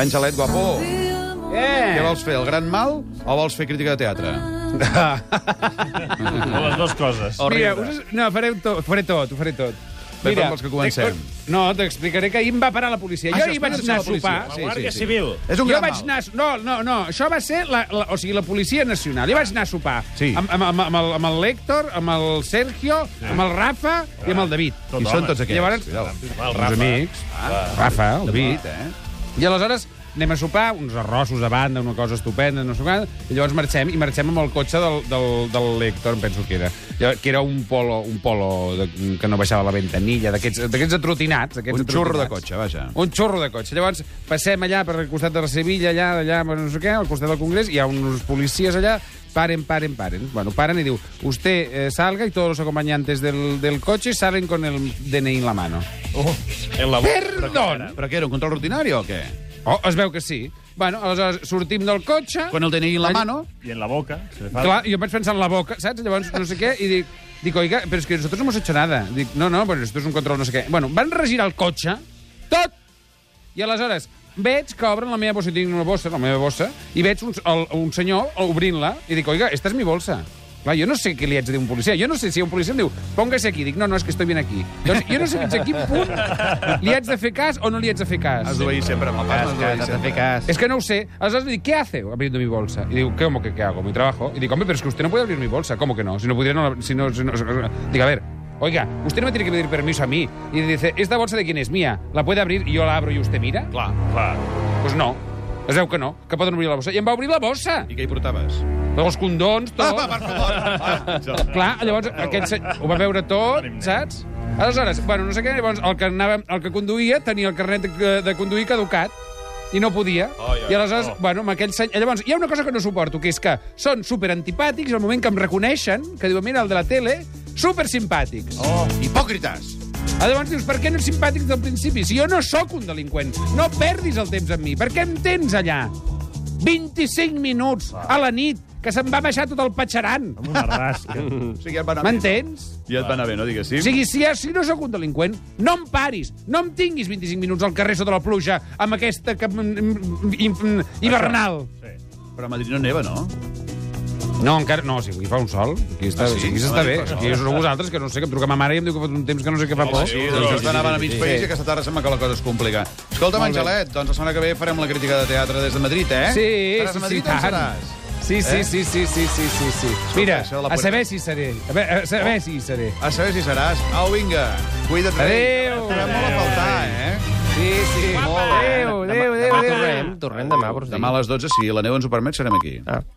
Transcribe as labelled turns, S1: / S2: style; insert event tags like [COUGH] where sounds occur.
S1: Angelet Guapó, què
S2: Eh!
S1: vols fer, el gran mal o vols fer crítica de teatre?
S3: O les dues coses.
S1: O
S2: Mira,
S1: riure.
S2: us, no, faré to, ho faré tot, ho faré tot.
S1: Bé, com vols que comencem? Ah,
S2: t'expli- No, t'explicaré que ahir em va parar la policia.
S1: Això,
S2: jo ahir vaig
S1: espera't,
S2: anar a
S1: la policia.
S2: sopar...
S1: La
S2: Sí,
S1: guàrdia
S3: Guàrdia
S1: sí.
S3: Civil.
S1: És un
S2: jo
S1: gran
S2: vaig
S1: mal.
S2: anar... a- No, no, no, això va ser la, la, o sigui, la Policia Nacional. Jo vaig anar a sopar
S1: Sí. Ah.
S2: amb, amb, amb, amb, el, amb el Héctor, amb el Sergio, amb el Rafa i amb el David.
S1: Qui són tots aquests?
S2: Llavors-
S1: Cuidao.
S3: Va, el
S2: Uns
S3: Rafa.
S2: amics.
S1: Ah.
S2: Rafa, el David,
S1: David, eh?
S2: I aleshores anem a sopar, uns arrossos a banda, una cosa estupenda, no sé què, i llavors marxem, i marxem amb el cotxe del, del, del lector, em penso que era, Llavors, que era un polo, un polo de, que no baixava la ventanilla, d'aquests d'aquests atrotinats. Aquests
S1: Un xurro de
S2: atrotinats.
S1: cotxe, vaja.
S2: Un xorro de cotxe. Llavors passem allà per al costat de la Sevilla, allà, allà, no sé què, al costat del Congrés, hi ha uns policies allà, paren, paren, paren. Bueno, paren i diu, usted eh, salga y todos los acompañantes del, del coche salen con el DNI en la mano.
S3: En la
S2: Perdón!
S1: Però què, era un control rutinari o què?
S2: Oh, es veu que sí. Bueno, aleshores sortim del cotxe...
S1: Quan el DNI en la
S2: Allà-
S1: mano...
S3: I en la boca. Se li fa...
S2: Clar, jo em vaig pensar en la boca, saps? Llavors, no sé què, i dic... Dic, oiga, però és que nosotros no hemos hecho nada. Dic, no, no, però esto es un control no sé què. Bueno, van regirar el cotxe, tot! I aleshores veig que obren la meva bossa, i tinc una bossa, la meva bossa, i veig un, el, un senyor obrint-la, i dic, oiga, esta és mi bolsa. Clar, jo no sé què li haig de dir a un policia. Jo no sé si un policia em diu, póngase aquí. Dic, no, no, és que estoy bien aquí. Doncs jo no sé fins a quin punt li haig de fer cas o no li haig de fer cas.
S1: Has d'obeir sempre, papà, has d'obeir sempre.
S4: cas.
S2: Es que no lo sé. Aleshores li dic, ¿qué hace abriendo mi bolsa? Y digo, ¿cómo que qué hago? Mi trabajo. Y digo, hombre, pero es que usted no puede abrir mi bolsa. ¿Cómo que no? Si no pudiera, no... la- Si no, si no- si no- Digo, a ver, oiga, usted no me tiene que pedir permiso a mí. Y dice, ¿esta bolsa de quién es mía? ¿La puede abrir y yo la abro y usted mira?
S3: Clar, clar.
S2: Pues no. Es veu que no, que poden obrir la bossa. I em va obrir la bossa!
S1: I què hi [LAUGHS] portaves?
S2: Els condons, tot.
S1: Ah, Va, per favor!
S2: Clar, llavors aquest se... ho va veure tot,
S3: Ànim, nen.
S2: saps? Aleshores, bueno, no sé què, llavors el que, anava, el que conduïa tenia el carnet de, de conduir caducat i no podia.
S3: Ai, ai,
S2: I aleshores,
S3: oh.
S2: bueno, amb aquell seny... Llavors, hi ha una cosa que no suporto, que és que són superantipàtics al moment que em reconeixen, que diuen, mira, el de la tele, supersimpàtics.
S1: Oh, hipòcrites!
S2: Ah, Llavors dius, per què no ets simpàtic del principi? Si jo no sóc un delinqüent, no perdis el temps amb mi. Per què em tens allà? 25 minuts a la nit, que se'n va baixar tot el patxaran.
S3: Amb una
S2: [LAUGHS]
S3: rasca.
S1: O sigui, ja et va anar bé.
S2: M'entens?
S1: Ja et va anar bé, no diguéssim?
S2: O sigui, si, si no sóc un delinqüent, no em paris, no em tinguis 25 minuts al carrer sota la pluja amb aquesta que, mm, mm, mm, hivernal.
S3: Sí.
S1: Però a Madrid no neva, no?
S2: No, encara no, si avui fa un sol, aquí està,
S1: Ah,
S2: ah,
S1: sí?
S2: sí? aquí
S1: Ah,
S2: s'està bé.
S1: sí,
S2: Aquí sou vosaltres, que no sé, que em truca ma mare i em diu que fa un temps que no sé què fa por.
S1: Sí, doncs sí, anaven a mig país i aquesta tarda sembla que la cosa es complica. Escolta'm, Angelet, doncs la setmana que ve farem la crítica de teatre des de Madrid, eh?
S2: Sí,
S1: Seràs
S2: sí,
S1: a
S2: sí,
S1: Madrid on
S2: tant.
S1: seràs?
S2: Sí, sí,
S1: Eh?
S2: sí, sí, sí, sí, sí, sí. Mira,
S1: això de la
S2: a
S1: puerta.
S2: saber si hi seré. A, veure, a saber si hi seré.
S1: A saber si seràs. Au, vinga, cuida't. rei.
S2: Adéu.
S1: Et trobem molt a faltar, eh?
S2: Sí, sí.
S1: Molt bé.
S2: Adéu, adéu, adéu, adéu.
S4: Tornem, tornem demà, Bruce Lee.
S1: Demà a les 12, si la neu ens ho permet, serem aquí.
S4: Ah.